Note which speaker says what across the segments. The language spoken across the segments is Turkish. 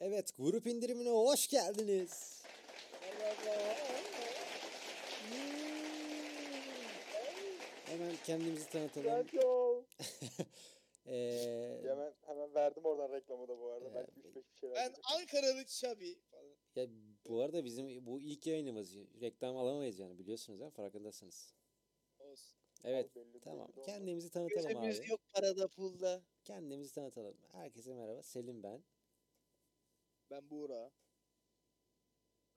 Speaker 1: Evet grup indirimine hoş geldiniz. Hemen kendimizi tanıtalım.
Speaker 2: Radyo.
Speaker 1: Ee,
Speaker 2: Hemen hemen verdim oradan reklamı da bu arada.
Speaker 1: Ee,
Speaker 2: Belki 3-5 bir şeyler.
Speaker 3: Ben Ankaralı Çabi falan.
Speaker 1: ya bu arada bizim bu ilk yayınımız. Reklam alamayız yani biliyorsunuz ha farkındasınız.
Speaker 3: Olsun.
Speaker 1: Evet
Speaker 2: Belli- belli
Speaker 1: tamam
Speaker 2: de olmaz.
Speaker 1: kendimizi tanıtalım
Speaker 3: Gözümüz
Speaker 1: abi.
Speaker 3: yok parada pulda.
Speaker 1: Kendimizi tanıtalım. Herkese merhaba Selim ben.
Speaker 3: Ben Buğra.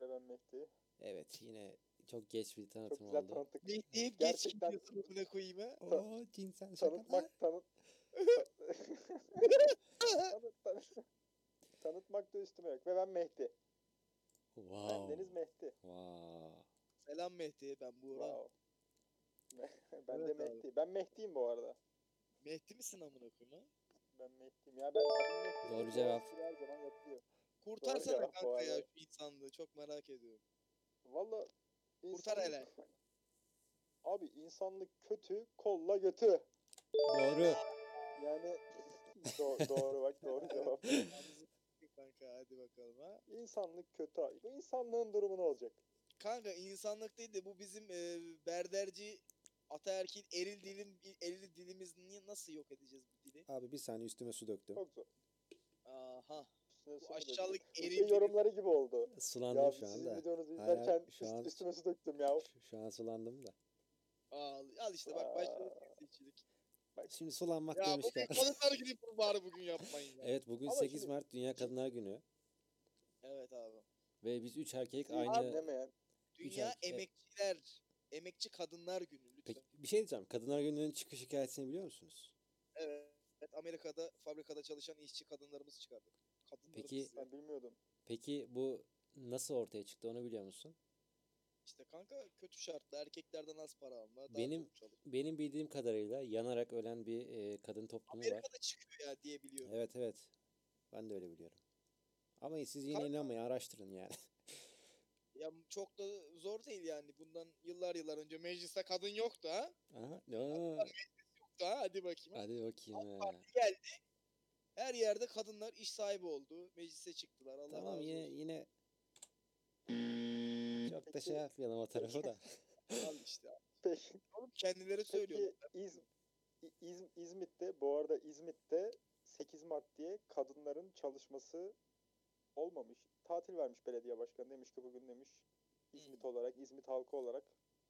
Speaker 2: Ve ben Mehdi.
Speaker 1: Evet yine çok geç bir
Speaker 2: Çok
Speaker 1: tanıtım
Speaker 2: güzel
Speaker 1: oldu.
Speaker 2: tanıttık.
Speaker 3: Ne deyip geç
Speaker 2: Gerçekten-
Speaker 3: gidiyorsun buna koyayım ha.
Speaker 1: Oo cinsel şakalar.
Speaker 2: Tanıtmak tanıt. tanıt, tanıt. Tanıtmak da üstüme yok. Ve ben Mehdi. Ben
Speaker 1: Wow.
Speaker 2: Deniz Mehdi.
Speaker 1: Wow.
Speaker 3: Selam Mehdi ben Buğra.
Speaker 2: Wow. ben
Speaker 3: Evet
Speaker 2: de
Speaker 3: abi.
Speaker 2: Mehdi. Ben Mehdi'yim bu arada.
Speaker 3: Mehdi misin amına koyayım ha?
Speaker 2: Ben Mehdi'yim. Ya ben adım Mehdi.
Speaker 1: Doğru cevap.
Speaker 2: Her zaman yapılıyor.
Speaker 3: Kurtarsana
Speaker 2: cevap bu
Speaker 3: kanka ya
Speaker 2: arada.
Speaker 3: şu insanlığı çok merak ediyorum.
Speaker 2: Valla
Speaker 3: Kurtar
Speaker 2: insanlık-
Speaker 3: hele.
Speaker 2: Abi insanlık kötü, kolla götü.
Speaker 1: Doğru.
Speaker 2: Yani do- doğru bak doğru cevap.
Speaker 3: Yalnız kanka hadi bakalım ha.
Speaker 2: İnsanlık kötü abi. Bu insanlığın durumu ne olacak?
Speaker 3: Kanka insanlık değil de bu bizim e, berderci ataerkil eril dilim eril dilimiz niye nasıl yok edeceğiz bu dili?
Speaker 1: Abi bir saniye üstüme su döktüm.
Speaker 2: Çok zor.
Speaker 3: Aha.
Speaker 2: Üstüne su
Speaker 3: Bu
Speaker 2: mu
Speaker 3: aşağılık
Speaker 2: döktün? Bu
Speaker 3: eril
Speaker 2: şey
Speaker 3: dilim.
Speaker 2: yorumları gibi oldu.
Speaker 1: Sulandım
Speaker 2: ya
Speaker 1: şu
Speaker 2: sizin
Speaker 1: anda.
Speaker 2: videonuzu
Speaker 1: Hayır,
Speaker 2: izlerken
Speaker 1: şu
Speaker 2: üst-
Speaker 1: an-
Speaker 2: üstüme su döktüm ya.
Speaker 1: Şu- Şu an sulandım da.
Speaker 3: Al, al işte bak başladı cinsiyetçilik.
Speaker 1: Şimdi sulanmak
Speaker 3: Ya
Speaker 1: demişken.
Speaker 3: bugün kadınlar gidip bunu bari bugün yapmayın ya.
Speaker 1: Evet bugün
Speaker 2: Ama
Speaker 1: 8
Speaker 2: şimdi-
Speaker 1: Mart Dünya Kadınlar Günü.
Speaker 3: Evet abi.
Speaker 1: Ve biz 3 erkek
Speaker 2: Aynı.
Speaker 1: aynı...
Speaker 2: Anlamayan.
Speaker 3: Dünya
Speaker 1: erkek-
Speaker 3: emekçiler, emekçi kadınlar günü lütfen.
Speaker 1: Peki bir şey diyeceğim. Kadınlar Günü'nün çıkış hikayesini biliyor musunuz?
Speaker 3: Evet. Amerika'da fabrikada çalışan işçi kadınlarımızı çıkardık. Kadınlarımız
Speaker 1: Peki-
Speaker 3: ya.
Speaker 2: Ben bilmiyordum.
Speaker 1: Peki bu nasıl ortaya çıktı onu biliyor musun?
Speaker 3: işte kanka kötü şartlı erkeklerden az para alma. Daha
Speaker 1: Benim-
Speaker 3: çok çalış.
Speaker 1: Benim bildiğim kadarıyla yanarak ölen bir e, kadın toplumu var.
Speaker 3: Amerika'da çıkıyor ya diye biliyorum.
Speaker 1: Evet evet. Ben de öyle biliyorum. Ama siz yine
Speaker 3: Kanka-
Speaker 1: inanmayın araştırın yani.
Speaker 3: Ya çok da zor değil yani. Bundan yıllar yıllar önce mecliste kadın yoktu ha.
Speaker 1: Aha, aa,
Speaker 3: Yoktu ha hadi bakayım.
Speaker 1: hadi bakayım. ha.
Speaker 3: Her yerde kadınlar iş sahibi oldu. Meclise çıktılar. Allah
Speaker 1: Tamam
Speaker 3: razı
Speaker 1: yine
Speaker 3: olsun.
Speaker 1: yine çok da şey yapmayalım o tarafı da.
Speaker 3: Al işte.
Speaker 2: Peki,
Speaker 3: Oğlum kendileri söylüyor.
Speaker 2: peki İz, İ- İz, İzmit'te bu arada İzmit'te 8 Mart diye kadınların çalışması olmamış. Tatil vermiş belediye başkanı demiş ki bugün demiş
Speaker 1: e,
Speaker 2: İzmit olarak İzmit halkı olarak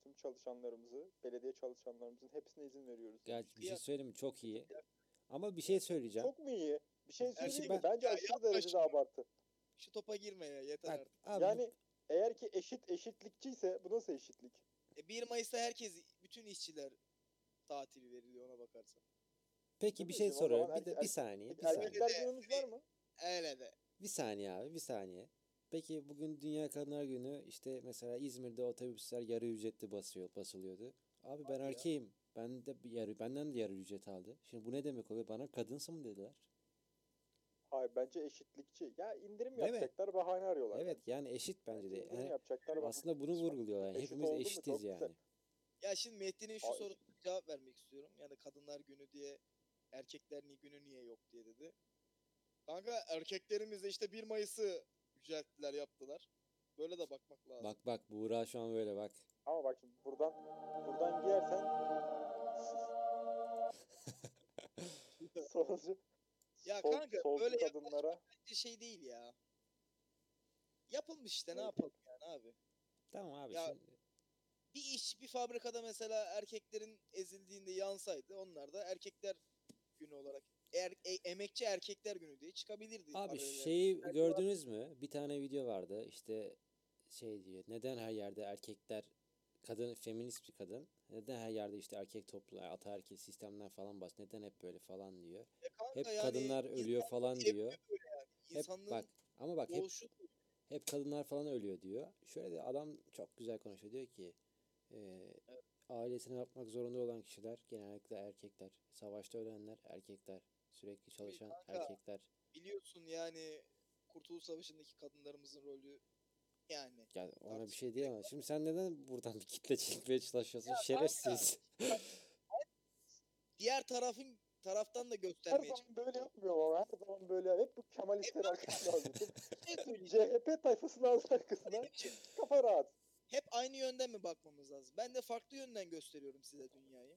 Speaker 2: tüm çalışanlarımızı belediye çalışanlarımızın hepsine izin veriyoruz.
Speaker 1: Ya bir şey
Speaker 3: Ya-
Speaker 1: söyleyeyim mi? çok iyi. Ama bir şey söyleyeceğim.
Speaker 2: Çok mu iyi? Bir şey söyleyeyim
Speaker 1: ben-
Speaker 2: mi? Bence
Speaker 3: Ya
Speaker 2: aşırı
Speaker 3: yapma
Speaker 2: derecede
Speaker 3: şunu.
Speaker 2: abartı.
Speaker 3: Şu topa girme ya yeter
Speaker 1: Bak
Speaker 3: artık.
Speaker 1: abi
Speaker 2: yani eğer ki eşit eşitlikçiyse bu nasıl eşitlik?
Speaker 3: E, 1 Mayıs'ta herkes, bütün işçiler tatil veriliyor ona bakarsan.
Speaker 1: peki bir
Speaker 2: değil
Speaker 1: şey
Speaker 2: mi? O zaman
Speaker 1: soruyorum. Bir, de,
Speaker 2: erkek-
Speaker 1: bir saniye, bir
Speaker 2: Peki
Speaker 1: saniye.
Speaker 2: erkekler günümüz
Speaker 3: şey-
Speaker 2: var mı?
Speaker 3: Öyle de.
Speaker 1: Bir saniye abi, bir saniye. Peki bugün Dünya Kadınlar Günü işte mesela İzmir'de otobüsler yarı ücretli basıyor, basılıyordu. Abi ben
Speaker 3: ya.
Speaker 1: erkeğim. Ben de bir yarı benden de yarı ücret aldı. Şimdi bu ne demek oluyor? Bana kadınsın mı dediler?
Speaker 2: Hayır bence eşitlikçi. Ya indirim
Speaker 1: Değil mi?
Speaker 2: yapacaklar bahane arıyorlar.
Speaker 1: Evet yani eşit bence de.
Speaker 2: İndirim
Speaker 1: Yani
Speaker 2: yapacaklar bahane.
Speaker 1: aslında bunu vurguluyorlar. Yani
Speaker 2: Eşit
Speaker 1: Hepimiz
Speaker 2: oldu mu?
Speaker 1: eşitiz
Speaker 2: Çok güzel.
Speaker 1: yani.
Speaker 3: Ya şimdi Mehdi'nin şu
Speaker 2: Ay.
Speaker 3: sorusuna cevap vermek istiyorum. Yani kadınlar günü diye erkekler ni- günü niye yok diye dedi. Kanka erkeklerimiz de işte 1 Mayıs'ı yücelttiler yaptılar. Böyle de bakmak lazım.
Speaker 1: Bak bak Buğra şu an böyle bak.
Speaker 2: Ama bak şimdi buradan buradan girersen solcu
Speaker 3: Ya
Speaker 2: sol-
Speaker 3: kanka,
Speaker 2: solcu
Speaker 3: böyle
Speaker 2: kadınlara
Speaker 3: Bence şey değil ya. Yapılmış işte ne
Speaker 2: Evet.
Speaker 3: yapalım yani abi.
Speaker 1: Tamam abi
Speaker 3: Ya-
Speaker 1: şimdi-
Speaker 3: bir iş bir fabrikada mesela erkeklerin ezildiğinde yansaydı onlar da erkekler günü olarak er, e- emekçi erkekler günü diye çıkabilirdi.
Speaker 1: Abi şey,
Speaker 3: paralel.
Speaker 1: şeyi
Speaker 3: Belki
Speaker 1: gördünüz mü? Bir tane video vardı. İşte şey diyor. Neden her yerde erkekler kadın feminist bir kadın. Neden her yerde işte erkek toplu ataerkil sistemler falan bas. Neden hep böyle falan diyor.
Speaker 3: E kanka
Speaker 1: Hep
Speaker 3: yani şey
Speaker 1: kadınlar ölüyor
Speaker 3: insan-
Speaker 1: falan
Speaker 3: hep
Speaker 1: diyor.
Speaker 3: böyle yani.
Speaker 1: Hep
Speaker 3: İnsanlığın
Speaker 1: bak ama bak hep
Speaker 3: oluşu
Speaker 1: hep kadınlar falan ölüyor diyor. Şöyle de adam çok güzel konuşuyor. Diyor ki e, ailesine bakmak zorunda olan kişiler genellikle erkekler. Savaşta ölenler erkekler. Sürekli çalışan
Speaker 3: kanka.
Speaker 1: erkekler.
Speaker 3: biliyorsun yani Kurtuluş Savaşı'ndaki kadınlarımızın rolü yani.
Speaker 1: Yani ona bir
Speaker 3: Tartışma
Speaker 1: şey diyemem. Şimdi sen neden buradan bir kitle çekmeye çalışıyorsun?
Speaker 3: Ya kanka,
Speaker 1: Şerefsiz.
Speaker 3: Diğer tarafın taraftan da
Speaker 2: Her
Speaker 3: göstermeye
Speaker 2: zaman böyle yapmıyor ama her zaman böyle hep bu Kemalistler arkasına aldı.
Speaker 3: çalışıyor.
Speaker 2: CHP tayfasını aldı arkasına. Kafa rahat.
Speaker 3: Hep aynı yönden mi bakmamız lazım? Ben de farklı yönden gösteriyorum size dünyayı.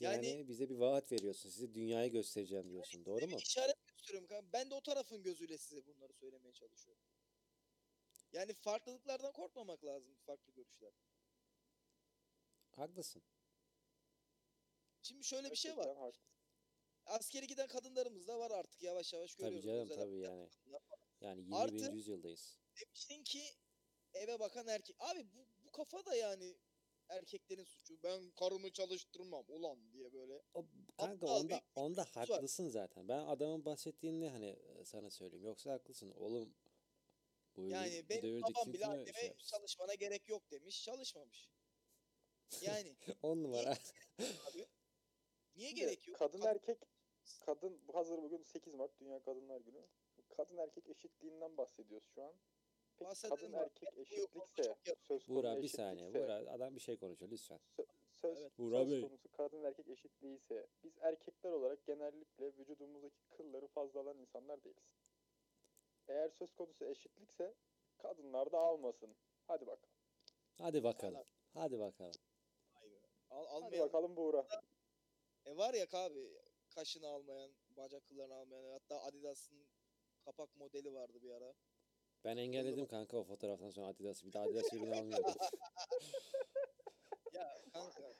Speaker 1: Yani,
Speaker 3: Yani-
Speaker 1: bize bir vaat veriyorsun. Size dünyayı göstereceğim diyorsun. Doğru mu?
Speaker 3: Bir işaret gösteriyorum kanka. Ben de o tarafın gözüyle size bunları söylemeye çalışıyorum. Yani farklılıklardan korkmamak lazım farklı görüşler.
Speaker 1: Haklısın.
Speaker 3: Şimdi şöyle bir şey var.
Speaker 2: Gerçekten haklı.
Speaker 3: Askeri giden kadınlarımız da var artık yavaş yavaş
Speaker 1: Tabii
Speaker 3: görüyoruz.
Speaker 1: canım
Speaker 3: özel
Speaker 1: tabii
Speaker 3: hayatlar.
Speaker 1: yani. Yani
Speaker 3: Artı-
Speaker 1: 21. yüzyıldayız.
Speaker 3: Demiştin ki eve bakan erkek. Abi bu, bu kafa da yani erkeklerin suçu. Ben karımı çalıştırmam ulan diye böyle.
Speaker 1: O, kanka
Speaker 3: Aptal
Speaker 1: onda
Speaker 3: bir
Speaker 1: onda
Speaker 3: kültürümüz var.
Speaker 1: haklısın zaten. Ben adamın bahsettiğinde hani e, sana söyleyeyim. Yoksa haklısın oğlum. Bu
Speaker 3: Yani
Speaker 1: devir-
Speaker 3: benim
Speaker 1: devirde
Speaker 3: babam
Speaker 1: kim
Speaker 3: bile
Speaker 1: kime
Speaker 3: anneme
Speaker 1: şey yapsın?
Speaker 3: çalışmana gerek yok demiş. Çalışmamış. Yani
Speaker 1: On numara.
Speaker 3: abi niye
Speaker 2: Şimdi
Speaker 3: gerek yok?
Speaker 2: Kadın
Speaker 3: Kad-
Speaker 2: erkek kadın bu hazır bugün 8 Mart Dünya Kadınlar Günü. Kadın erkek eşitliğinden bahsediyoruz şu an. Peki
Speaker 3: Bahsedelim
Speaker 2: kadın
Speaker 3: abi.
Speaker 2: erkek eşitlikse
Speaker 3: çok yakın.
Speaker 2: söz konusu
Speaker 1: Buğra bir
Speaker 2: eşitlikse,
Speaker 1: saniye. Buğra adam bir şey konuşuyor lütfen.
Speaker 2: sö- söz,
Speaker 3: Evet.
Speaker 1: Buğra
Speaker 2: söz
Speaker 1: Bey.
Speaker 2: konusu kadın erkek eşitliği ise biz erkekler olarak genellikle vücudumuzdaki kılları fazla alan insanlar değiliz. Eğer söz konusu eşitlikse kadınlar da almasın. Hadi bakalım.
Speaker 1: Hadi bakalım.
Speaker 3: Vallahi-
Speaker 1: Hadi bakalım.
Speaker 3: Al,
Speaker 2: Hadi
Speaker 3: almayan,
Speaker 2: bakalım Buğra.
Speaker 3: e var ya abi kaşını almayan, bacak kıllarını almayan. Hatta Adidas'ın kapak modeli vardı bir ara.
Speaker 1: Ben engelledim kanka o fotoğraftan sonra Adidas'ı. Bir daha Adidas ürünü almıyorum.
Speaker 3: Kanka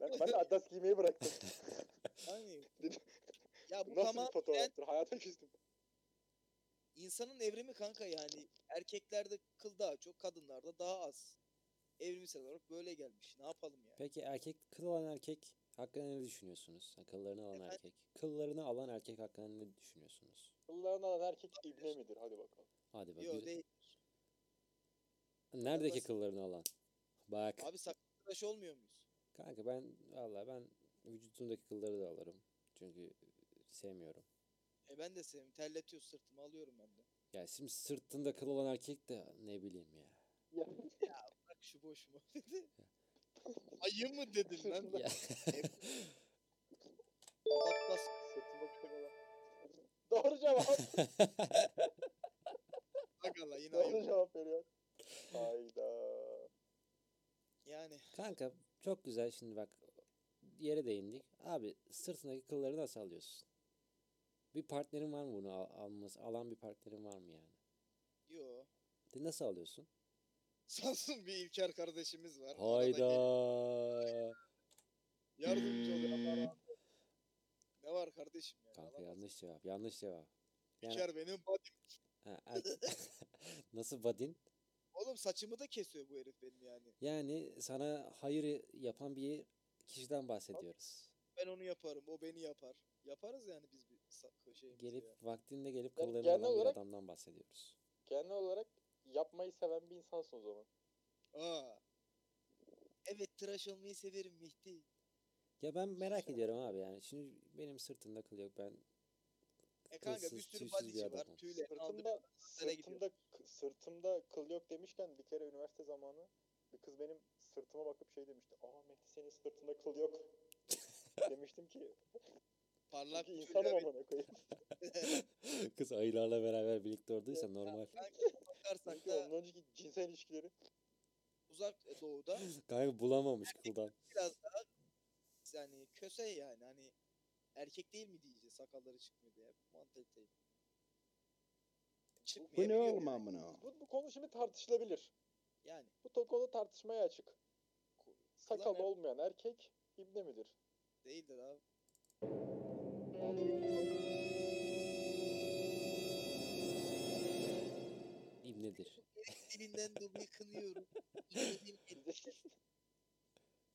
Speaker 2: Ben, ben de Adidas giymeyi bıraktım.
Speaker 3: hani ya bu
Speaker 2: Nasıl
Speaker 3: tamam
Speaker 2: bir fotoğraftır? Hayata küstüm.
Speaker 3: insanın evrimi kanka yani erkeklerde kıl daha çok, kadınlarda daha az. Evrimsel olarak böyle gelmiş. Ne yapalım yani?
Speaker 1: Peki erkek kıl alan erkek hakkında ne düşünüyorsunuz? Yani Kıllarını alan
Speaker 3: Efendim?
Speaker 1: erkek. Kıllarını alan erkek hakkında ne düşünüyorsunuz?
Speaker 2: Kıllarını alan erkek ibne midir? Hadi bakalım.
Speaker 1: Hadi bak.
Speaker 3: Yok
Speaker 1: güzel-
Speaker 3: değil.
Speaker 1: Neredeki
Speaker 3: basit.
Speaker 1: kıllarını alan? Bak.
Speaker 3: Abi saklanmış olmuyor muyuz?
Speaker 1: Kanka ben valla ben vücudumdaki kılları da alırım. Çünkü sevmiyorum.
Speaker 3: E ben de sevim. Terletiyor sırtımı alıyorum ben de.
Speaker 1: Ya şimdi sırtında kıl olan erkek de ne bileyim ya.
Speaker 2: Ya,
Speaker 3: Bak şu boş mu? dedi. Ayı mı dedin lan?
Speaker 1: Ya,
Speaker 3: Atlas
Speaker 2: sırtıma kırmadan. Doğru cevap.
Speaker 3: Agala yine ayı.
Speaker 2: Doğru
Speaker 3: mı?
Speaker 2: cevap veriyor. Hayda.
Speaker 3: Yani
Speaker 1: Kanka çok güzel şimdi bak yere değindik. Abi sırtındaki kılları nasıl alıyorsun? Bir partnerin var mı bunu al- alması? Alan bir partnerin var mı yani?
Speaker 3: yo.
Speaker 1: De nasıl alıyorsun?
Speaker 3: Samsun bir İlker kardeşimiz var. Arada gelip
Speaker 1: Hayda.
Speaker 3: Yardımcı oluyor Allah razı olsun. Ne var kardeşim ya?
Speaker 1: Hmm. Kanka
Speaker 3: Alamaz.
Speaker 1: yanlış cevap. Yanlış cevap. Yani-
Speaker 3: İlker benim badim.
Speaker 1: Ha, erkek- nasıl badin?
Speaker 3: Oğlum saçımı da kesiyor bu herif benim yani.
Speaker 1: Yani sana hayır yapan bir kişiden bahsediyoruz.
Speaker 3: Ben onu yaparım. O beni yapar. Yaparız yani biz bir sa- şey.
Speaker 1: Gelip vaktinde gelip
Speaker 2: Yani
Speaker 1: kıllarını
Speaker 2: genel
Speaker 1: alan bir
Speaker 2: olarak-
Speaker 1: adamdan bahsediyoruz.
Speaker 2: Genel olarak yapmayı seven bir insansın o zaman.
Speaker 3: Aa. Evet tıraş olmayı severim Mehdi.
Speaker 1: Ya ben merak ediyorum abi yani. Şimdi benim sırtımda kıl yok. Ben
Speaker 3: E kanka bir
Speaker 1: Kılsız,
Speaker 3: sürü
Speaker 1: tüysüz
Speaker 3: badici
Speaker 1: bir
Speaker 3: var.
Speaker 1: adamım.
Speaker 3: Tüyle
Speaker 2: Sırtımda, sırtımda,
Speaker 3: gidiyor.
Speaker 2: sırtımda kıl yok demişken bir kere üniversite zamanı bir kız benim sırtıma bakıp şey demişti. Aa Mehdi senin sırtında kıl yok. Demiştim ki
Speaker 3: Parlak
Speaker 2: çünkü
Speaker 3: tüyle.
Speaker 2: insanım amına koyayım.
Speaker 1: kız ayılarla beraber birlikte olduysa normal.
Speaker 3: Bakarsak
Speaker 2: Çünkü
Speaker 3: da
Speaker 2: ondan önceki cinsel ilişkileri
Speaker 3: uzak e, doğuda
Speaker 1: Kanka bulamamış kıldan.
Speaker 3: biraz daha yani köse yani hani erkek değil mi diyeceğiz sakalları çıkmıyor diye. Bu mantaliteyi.
Speaker 4: Bu ne
Speaker 3: Çıkmayabiliyor
Speaker 4: oğlum amına?
Speaker 2: bu, bu konu şimdi tartışılabilir.
Speaker 3: yani.
Speaker 2: Bu to- konu tartışmaya açık. Sakal
Speaker 3: Kullanmayan-
Speaker 2: olmayan erkek ibne midir?
Speaker 3: Değildir abi.
Speaker 1: İbnedir.
Speaker 3: Dilinden dolayı kınıyorum. İnanın
Speaker 2: Bir de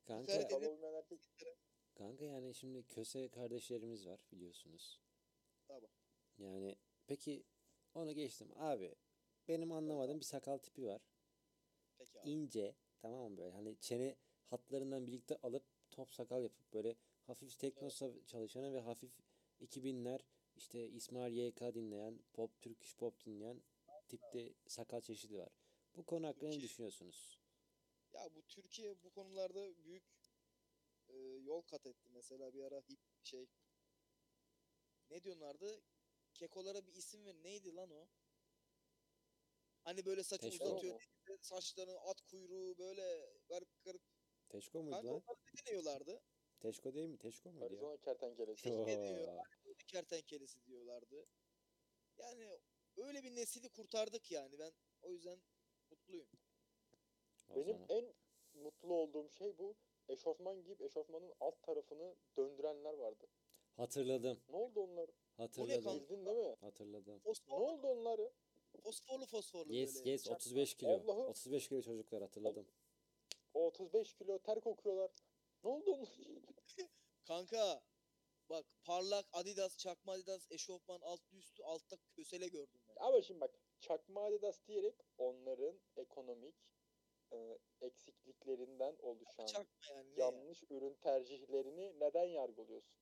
Speaker 1: Kanka,
Speaker 3: Evet.
Speaker 2: Sakal olmayan erkek
Speaker 1: kanka yani şimdi köse kardeşlerimiz var biliyorsunuz.
Speaker 3: Tamam.
Speaker 1: Yani peki onu geçtim. Abi benim anlamadığım bir sakal tipi var.
Speaker 3: Peki abi.
Speaker 1: ince tamam mı böyle hani çene hatlarından birlikte alıp top sakal yapıp böyle hafif tekno sa- çalışan ve hafif 2000'ler işte İsmail YK dinleyen pop Türk iş pop dinleyen tipte sakal çeşidi var. Bu konu hakkında ne
Speaker 3: Türkiye-
Speaker 1: düşünüyorsunuz?
Speaker 3: Ya bu Türkiye bu konularda büyük e, yol kat etti. Mesela bir ara hip şey ne diyorlardı? Kekolara bir isim ver. Neydi lan o? Hani böyle saçı
Speaker 1: Teşko.
Speaker 3: uzatıyor. elinde Saçlarını at kuyruğu böyle garip garip.
Speaker 1: Teşko muydu
Speaker 3: Kanka
Speaker 1: lan?
Speaker 3: onlara ne deniyorlardı?
Speaker 1: Teşko değil mi? Teşko muydu ya?
Speaker 2: Arizona kertenkelesi.
Speaker 1: Çok.
Speaker 3: ediyor. kertenkelesi diyorlardı. Yani öyle bir nesili kurtardık yani. Ben o yüzden mutluyum.
Speaker 1: O
Speaker 2: Benim
Speaker 1: zaman.
Speaker 2: en mutlu olduğum şey bu. Eşofman giyip eşofmanın alt tarafını döndürenler vardı.
Speaker 1: Hatırladım.
Speaker 2: Ne oldu onlar?
Speaker 1: Hatırladım.
Speaker 3: kanka?
Speaker 2: Bildin değil mi?
Speaker 1: Hatırladım.
Speaker 2: Ne
Speaker 3: Fosforlu
Speaker 2: oldu onları?
Speaker 3: fosforlu, fosforlu
Speaker 1: Yes
Speaker 3: böyle.
Speaker 1: yes
Speaker 2: çakma.
Speaker 1: 35 kilo.
Speaker 2: şey. Allah'ım.
Speaker 1: 35 kilo çocuklar hatırladım.
Speaker 2: O 35 kilo ter kokuyorlar. Ne oldu onlar?
Speaker 3: Kanka bak parlak Adidas, çakma Adidas, eşofman altlı üstü altta kösele gördüm ben.
Speaker 2: Ama şimdi bak çakma Adidas diyerek onların ekonomik e, eksikliklerinden oluşan
Speaker 3: Çakma yani ne ya?
Speaker 2: yanlış ürün tercihlerini neden yargılıyorsun?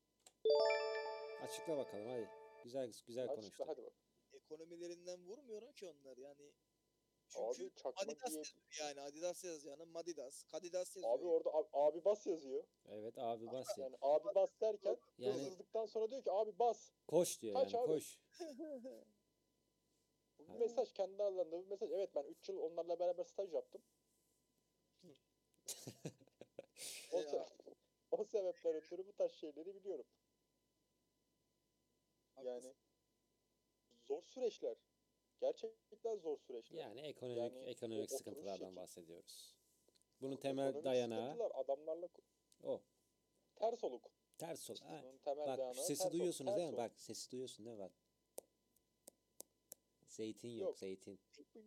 Speaker 1: Açıkla bakalım hadi. Güzel güzel konuştun.
Speaker 2: Açıkla hadi bak.
Speaker 3: Ekonomilerinden vurmuyorum ki onlar yani. Çünkü
Speaker 2: Abi çakma
Speaker 3: Adidas
Speaker 2: diye...
Speaker 3: yazıyor yani Adidas yazacağına Madidas, Kadidas yazıyor.
Speaker 2: Abi orada abi, abi bas yazıyor.
Speaker 1: Evet abi bas ya.
Speaker 2: Yani abi bas derken
Speaker 1: Yani
Speaker 2: hırsızlıktan sonra diyor ki abi bas.
Speaker 1: koş diyor
Speaker 2: Kaç
Speaker 1: yani
Speaker 2: abi?
Speaker 1: koş.
Speaker 2: Bu bir
Speaker 1: Ha.
Speaker 2: mesaj kendi aralarında bir mesaj. Evet ben 3 yıl onlarla beraber staj yaptım. o,
Speaker 3: Ya.
Speaker 2: se- o sebepler ötürü bu tarz şeyleri biliyorum.
Speaker 3: Haklısın.
Speaker 2: Yani zor süreçler. Gerçekten zor süreçler.
Speaker 1: Yani ekonomik
Speaker 2: Yani o
Speaker 1: ekonomik
Speaker 2: oturuş
Speaker 1: sıkıntılardan
Speaker 2: şekli.
Speaker 1: bahsediyoruz. Bunun temel
Speaker 2: Ekonomik
Speaker 1: dayanağı
Speaker 2: sıkıntılar, adamlarla ko-
Speaker 1: o.
Speaker 2: ters oluk.
Speaker 1: Ters ol. Ha,
Speaker 2: Bunun temel
Speaker 1: Bak şu
Speaker 2: dayanağı
Speaker 1: sesi
Speaker 2: ters oluk,
Speaker 1: duyuyorsunuz
Speaker 2: ters
Speaker 1: değil mi?
Speaker 2: oluk.
Speaker 1: Bak sesi duyuyorsun değil mi? Bak. Zeytin yok,
Speaker 2: Yok.
Speaker 1: zeytin.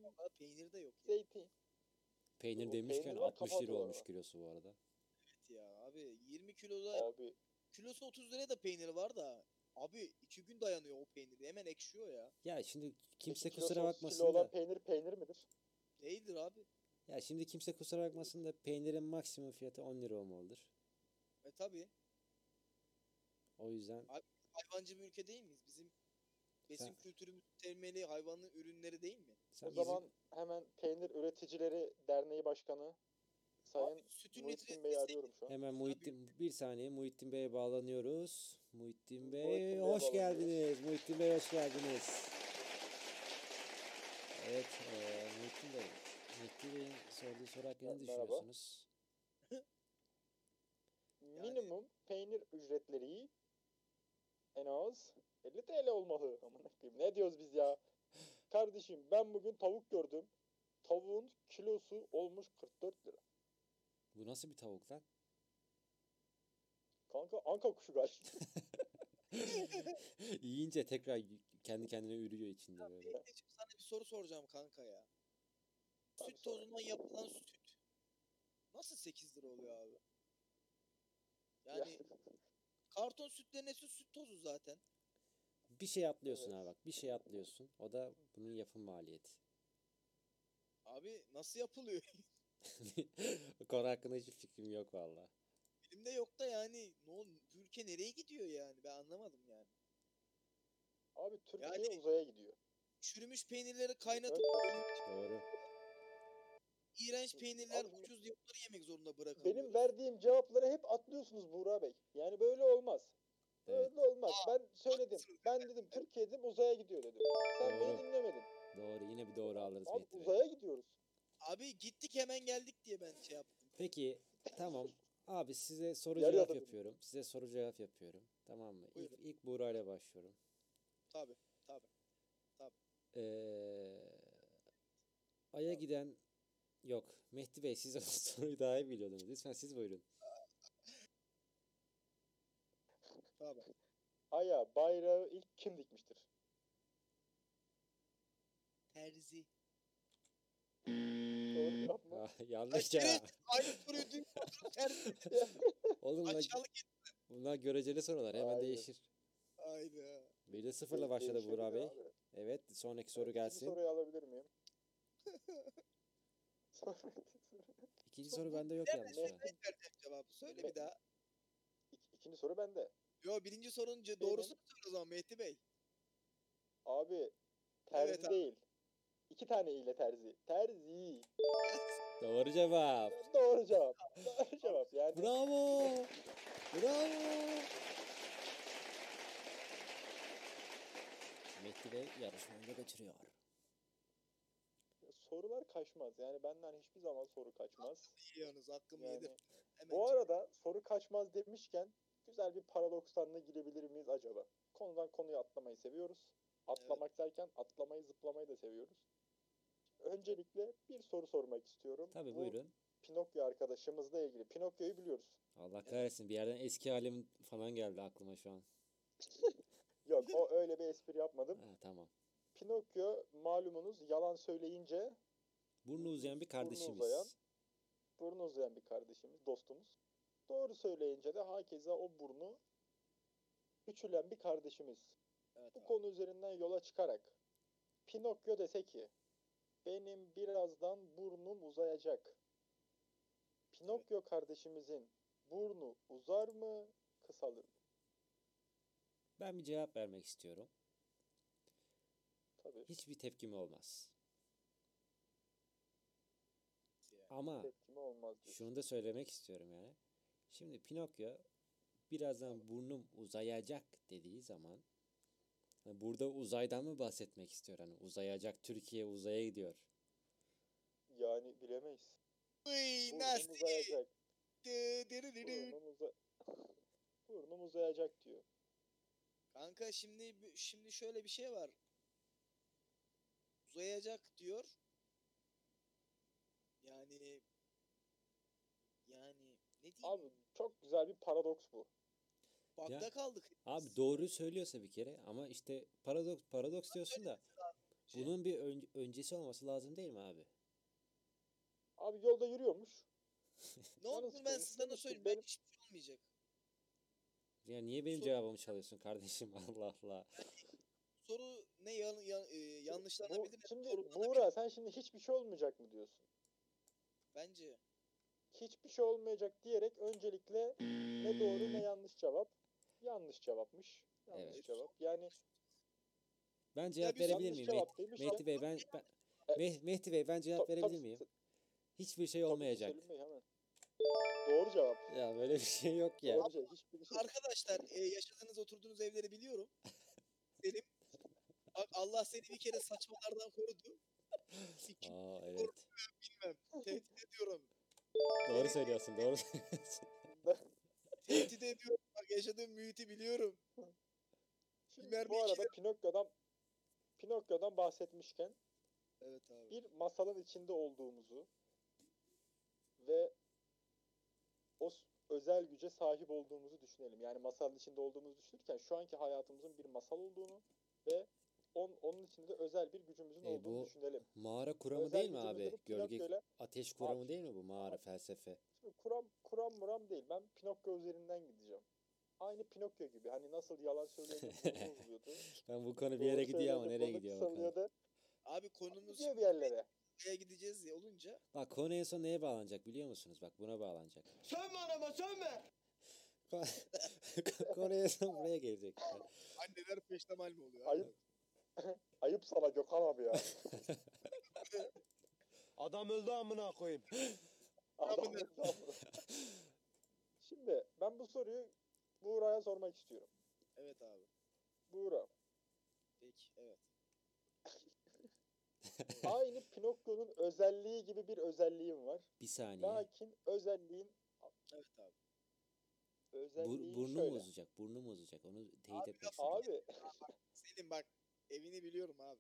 Speaker 3: Ama peynir de yok ya.
Speaker 2: Zeytin.
Speaker 1: Peynir
Speaker 2: O
Speaker 1: demişken
Speaker 2: peynir var,
Speaker 1: 60 lira
Speaker 2: kapatıyorlar
Speaker 1: olmuş
Speaker 2: bak.
Speaker 1: kilosu bu arada.
Speaker 3: Evet ya abi 20 kiloda
Speaker 2: Abi
Speaker 3: kilosu 30 liraya da peynir var da abi 2 gün dayanıyor o peynir hemen ekşiyor ya.
Speaker 1: Ya şimdi kimse
Speaker 2: iki kilosu
Speaker 1: kusura
Speaker 2: otuz kilo
Speaker 1: bakmasın
Speaker 2: olan
Speaker 1: da
Speaker 2: peynir peynir midir?
Speaker 3: Değildir abi.
Speaker 1: ya şimdi kimse kusura bakmasın da peynirin maksimum fiyatı 10 lira olmalıdır.
Speaker 3: E tabi
Speaker 1: O yüzden
Speaker 3: hayvancı bir ülke değil miyiz? Bizim besin
Speaker 1: Sen-
Speaker 3: kültürümüz temeli hayvanın ürünleri değil mi?
Speaker 1: sen
Speaker 2: o
Speaker 1: bizim-
Speaker 2: zaman hemen Peynir Üreticileri Derneği Başkanı Sayın
Speaker 3: Abi sütün
Speaker 2: Muhittin
Speaker 3: litre
Speaker 2: Bey'i arıyorum şu an.
Speaker 1: Hemen Muhittin bir saniye Muhittin Bey'e bağlanıyoruz. Muhittin Bey
Speaker 2: Muhittin Bey'e
Speaker 1: hoş
Speaker 2: bağlanıyoruz.
Speaker 1: geldiniz. Muhittin Bey hoş geldiniz. Evet eee Muhittin Bey. Muhittin Bey'in sorduğu soru hakkında ne
Speaker 2: Merhaba.
Speaker 1: düşünüyorsunuz?
Speaker 2: Minimum peynir ücretleri en az 50 TL olmalı. Aman akıyım, ne diyoruz biz ya? Kardeşim ben bugün tavuk gördüm. Tavuğun kilosu olmuş 44 lira.
Speaker 1: Bu nasıl bir tavuk lan?
Speaker 2: Kanka anka kuşu galiba.
Speaker 1: Yiyince tekrar y- kendi kendine ürüyor içinde böyle.
Speaker 3: Bekleyeceğim sana bir soru soracağım kanka ya.
Speaker 2: Tabii
Speaker 3: Süt
Speaker 2: sor.
Speaker 3: tozundan yapılan süt. Nasıl 8 lira oluyor abi?
Speaker 2: Ya,
Speaker 3: Yani karton sütlerine süt süt tozu zaten.
Speaker 1: Bir şey atlıyorsun
Speaker 2: Evet.
Speaker 1: ha bak. Bir şey atlıyorsun. O da bunun yapım maliyeti.
Speaker 3: Abi nasıl yapılıyor?
Speaker 1: Bu Konu hakkında hiçbir fikrim yok valla.
Speaker 3: Elimde yok da yani ne ol bu ülke nereye gidiyor yani ben anlamadım yani.
Speaker 2: Abi Türkiye
Speaker 3: Yani-
Speaker 2: uzaya gidiyor.
Speaker 3: Çürümüş peynirleri kaynatıp
Speaker 1: Doğru.
Speaker 3: iğrenç peynirler
Speaker 2: Abi-
Speaker 3: ucuz diye bunları yemek zorunda bırakılıyor.
Speaker 2: Benim verdiğim cevapları hep atlıyorsunuz Buğra Bey. Yani böyle olmaz.
Speaker 1: Evet.
Speaker 2: Böyle olmaz. Ben söyledim.
Speaker 3: haklısın.
Speaker 2: Ben dedim Türkiye dedim uzaya gidiyor dedim. Sen beni
Speaker 1: Doğru.
Speaker 2: dinlemedin.
Speaker 1: Doğru. Yine bir doğru alırız
Speaker 2: Abi
Speaker 1: Muhittin Bey.
Speaker 2: uzaya gidiyoruz.
Speaker 3: Abi gittik hemen geldik diye ben şey yaptım.
Speaker 1: Peki tamam. Abi size soru
Speaker 2: Yarı
Speaker 1: cevap
Speaker 2: yolda dedim.
Speaker 1: yapıyorum. Size soru cevap yapıyorum. Tamam mı? İlk,
Speaker 3: Buyurun.
Speaker 1: ilk Buğra ile başlıyorum.
Speaker 3: Tabi.
Speaker 1: Ee, Ay'a giden yok. Mehdi Bey siz o soruyu daha iyi biliyordunuz. Lütfen siz buyurun.
Speaker 3: Tabi.
Speaker 2: Aya bayrağı ilk kim dikmiştir?
Speaker 3: Terzi.
Speaker 2: Doğru cevap mı?
Speaker 1: Ah, Yanlış ya.
Speaker 3: Aynı soruyu dün terzi.
Speaker 1: Oğlum bunlar,
Speaker 3: Aşağılık.
Speaker 1: bunlar göreceli sorular. Hemen
Speaker 2: Aynen.
Speaker 1: değişir.
Speaker 3: Hayda.
Speaker 1: Bir de sıfırla
Speaker 2: Evet,
Speaker 1: başladı
Speaker 2: değişebilir
Speaker 1: Buğra Bey.
Speaker 2: abi.
Speaker 1: Evet sonraki
Speaker 2: Evet,
Speaker 1: soru
Speaker 2: ikinci
Speaker 1: gelsin.
Speaker 2: soruyu alabilir miyim? Sonra-
Speaker 1: İkinci soru bende yok yalnız şu an.
Speaker 3: Ben vereceğim cevabı. Söyle bir daha.
Speaker 2: İk- İkinci soru bende.
Speaker 3: Yo birinci sorunun ce-
Speaker 2: Benim.
Speaker 3: doğrusunu söyle o zaman Mehdi Bey.
Speaker 2: Abi terzi
Speaker 3: Evet abi.
Speaker 2: değil. İki tane ile terzi. Terzi.
Speaker 1: Doğru cevap.
Speaker 2: Doğru cevap. Doğru cevap. Yani
Speaker 1: Bravo. Bravo. Mehdi de yarışmayı da kaçırıyor.
Speaker 2: sorular kaçmaz. Yani benden hiçbir zaman soru kaçmaz.
Speaker 3: Yalnız hakkımı
Speaker 2: Yani-
Speaker 3: yedim. Hemen
Speaker 2: Bu arada soru kaçmaz demişken güzel bir paradokstan da girebilir miyiz acaba? Konudan konuya atlamayı seviyoruz. Atlamak derken atlamayı zıplamayı da seviyoruz. Öncelikle bir soru sormak istiyorum.
Speaker 1: Tabii
Speaker 2: Bu
Speaker 1: buyurun.
Speaker 2: Pinokyo arkadaşımızla ilgili. Pinokyo'yu biliyoruz.
Speaker 1: Allah kahretsin bir yerden eski halim falan geldi aklıma şu an.
Speaker 2: Yok o öyle bir espri yapmadım.
Speaker 1: Ha, tamam.
Speaker 2: Pinokyo malumunuz yalan söyleyince
Speaker 1: Burnu uzayan bir kardeşimiz.
Speaker 2: uzayan. burnu uzayan bir kardeşimiz, dostumuz. Doğru söyleyince de hakeza o burnu küçülen bir kardeşimiz.
Speaker 3: Evet
Speaker 2: Bu
Speaker 3: abi.
Speaker 2: konu üzerinden yola çıkarak Pinokyo dese ki benim birazdan burnum uzayacak. Pinokyo kardeşimizin burnu uzar mı, kısalır mı?
Speaker 1: Ben bir cevap vermek istiyorum.
Speaker 2: Tabii.
Speaker 1: Hiçbir tepkim olmaz.
Speaker 3: Yani.
Speaker 1: Ama
Speaker 2: Tepkime olmaz diyor.
Speaker 1: şunu da söylemek istiyorum yani. Şimdi Pinokyo birazdan burnum uzayacak dediği zaman hani burada uzaydan mı bahsetmek istiyor? Hani uzayacak Türkiye uzaya gidiyor.
Speaker 2: Yani bilemeyiz.
Speaker 3: Uy
Speaker 2: Burnum
Speaker 3: nasty.
Speaker 2: uzayacak.
Speaker 3: Dı, dırı dırı.
Speaker 2: Burnum, uza... burnum uzayacak diyor.
Speaker 3: Kanka şimdi şimdi şöyle bir şey var. Uzayacak diyor. Yani yani ne diyeyim?
Speaker 2: Abi çok güzel bir paradoks bu.
Speaker 3: Bakta
Speaker 1: Ya-
Speaker 3: kaldık.
Speaker 1: Abi doğru söylüyorsa bir kere ama işte paradoks paradoks diyorsun da
Speaker 3: Şey-
Speaker 1: bunun bir ön- öncesi olması lazım değil mi abi?
Speaker 2: Abi yolda yürüyormuş.
Speaker 3: Ne oldu
Speaker 2: Yalnız
Speaker 3: ben
Speaker 2: konuştuğum
Speaker 3: sana
Speaker 2: için
Speaker 3: söyleyeyim.
Speaker 2: benim-
Speaker 3: Ben hiçbir şey olmayacak.
Speaker 1: Ya niye benim
Speaker 3: Sor-
Speaker 1: cevabımı çalıyorsun kardeşim? Allah Allah.
Speaker 3: Soru ne yan, yan, e, yanlışlanabilir.
Speaker 2: Bu, şimdi
Speaker 3: doğrulanabilir.
Speaker 2: Buğra sen şimdi hiçbir şey olmayacak mı diyorsun?
Speaker 3: Bence.
Speaker 2: hiçbir şey olmayacak diyerek öncelikle ne doğru ne yanlış cevap. Yanlış cevapmış. Yanlış
Speaker 1: Hmm. Evet.
Speaker 2: cevap. Yani
Speaker 1: Ben cevap
Speaker 3: biz
Speaker 1: verebilir
Speaker 2: yanlış
Speaker 1: miyim? Meh-
Speaker 2: cevap demiş.
Speaker 1: Mehdi Bey ben, ben Meh- Mehdi Bey ben cevap verebilir miyim? Hiçbir şey olmayacak.
Speaker 2: Doğru cevap.
Speaker 1: Ya böyle bir şey yok ya.
Speaker 2: Doğru cevap. Hiçbir şey.
Speaker 3: Arkadaşlar e, yaşadığınız oturduğunuz evleri biliyorum. Selim. Bak Allah seni bir kere saçmalardan korudu. Sikim
Speaker 1: Aa evet.
Speaker 3: tehdit ediyorum.
Speaker 1: Doğru söylüyorsun. Doğru söylüyorsun.
Speaker 3: Tehdit ediyorum. Bak yaşadığım mühiti biliyorum.
Speaker 2: Şimdi
Speaker 3: Mermi
Speaker 2: bu arada Pinokyo'dan Pinokyo'dan bahsetmişken
Speaker 3: Evet abi.
Speaker 2: bir masalın içinde olduğumuzu ve o s- özel güce sahip olduğumuzu düşünelim. Yani masalın içinde olduğumuzu düşünürken şu anki hayatımızın bir masal olduğunu ve on, onun içinde de özel bir gücümüzün
Speaker 1: E,
Speaker 2: olduğunu
Speaker 1: bu
Speaker 2: düşünelim.
Speaker 1: Mağara kuramı
Speaker 2: özel
Speaker 1: değil mi
Speaker 2: gücümüzü
Speaker 1: abi?
Speaker 2: bu
Speaker 1: Gölge
Speaker 2: Pinokyo'yla-
Speaker 1: ateş kuramı
Speaker 2: Abi.
Speaker 1: değil mi bu mağara felsefe?
Speaker 2: Şimdi kuram, kuram muram değil. Ben Pinokyo üzerinden gideceğim. Aynı Pinokyo gibi. Hani nasıl yalan söyleyince burnu uzuyordu.
Speaker 1: Ben bu konu bir
Speaker 2: doğru
Speaker 1: yere gidiyor ama
Speaker 2: söyleyince
Speaker 1: nereye
Speaker 2: burnu
Speaker 1: gidiyor bakalım.
Speaker 2: kısalıyordu.
Speaker 3: Abi konumuz
Speaker 2: Gidiyor bir yerlere.
Speaker 3: oraya gideceğiz ya olunca
Speaker 1: Bak konu en son neye bağlanacak biliyor musunuz? Bak buna bağlanacak.
Speaker 4: Sönme anama sönme.
Speaker 1: konu en son buraya gelecek.
Speaker 3: anneler peştemal mi oluyor?
Speaker 2: Ayıp. Ayıp sana Gökhan abi ya.
Speaker 4: Adam öldü amına koyayım.
Speaker 2: Adam
Speaker 3: ne?
Speaker 2: hesabı. Şimdi ben bu soruyu Buğra'ya sormak istiyorum.
Speaker 3: Evet abi.
Speaker 2: Buğra,
Speaker 3: Peki evet.
Speaker 2: aynı Pinokyo'nun özelliği gibi bir özelliğim var.
Speaker 1: Bir saniye.
Speaker 2: Lakin özelliğin
Speaker 3: Evet abi.
Speaker 1: Bur,
Speaker 2: özelliği
Speaker 1: burnum
Speaker 2: şöyle.
Speaker 1: uzayacak. Burnum uzayacak. Onu teyit etmek istedim.
Speaker 2: Abi
Speaker 3: Selim bak evini biliyorum abi.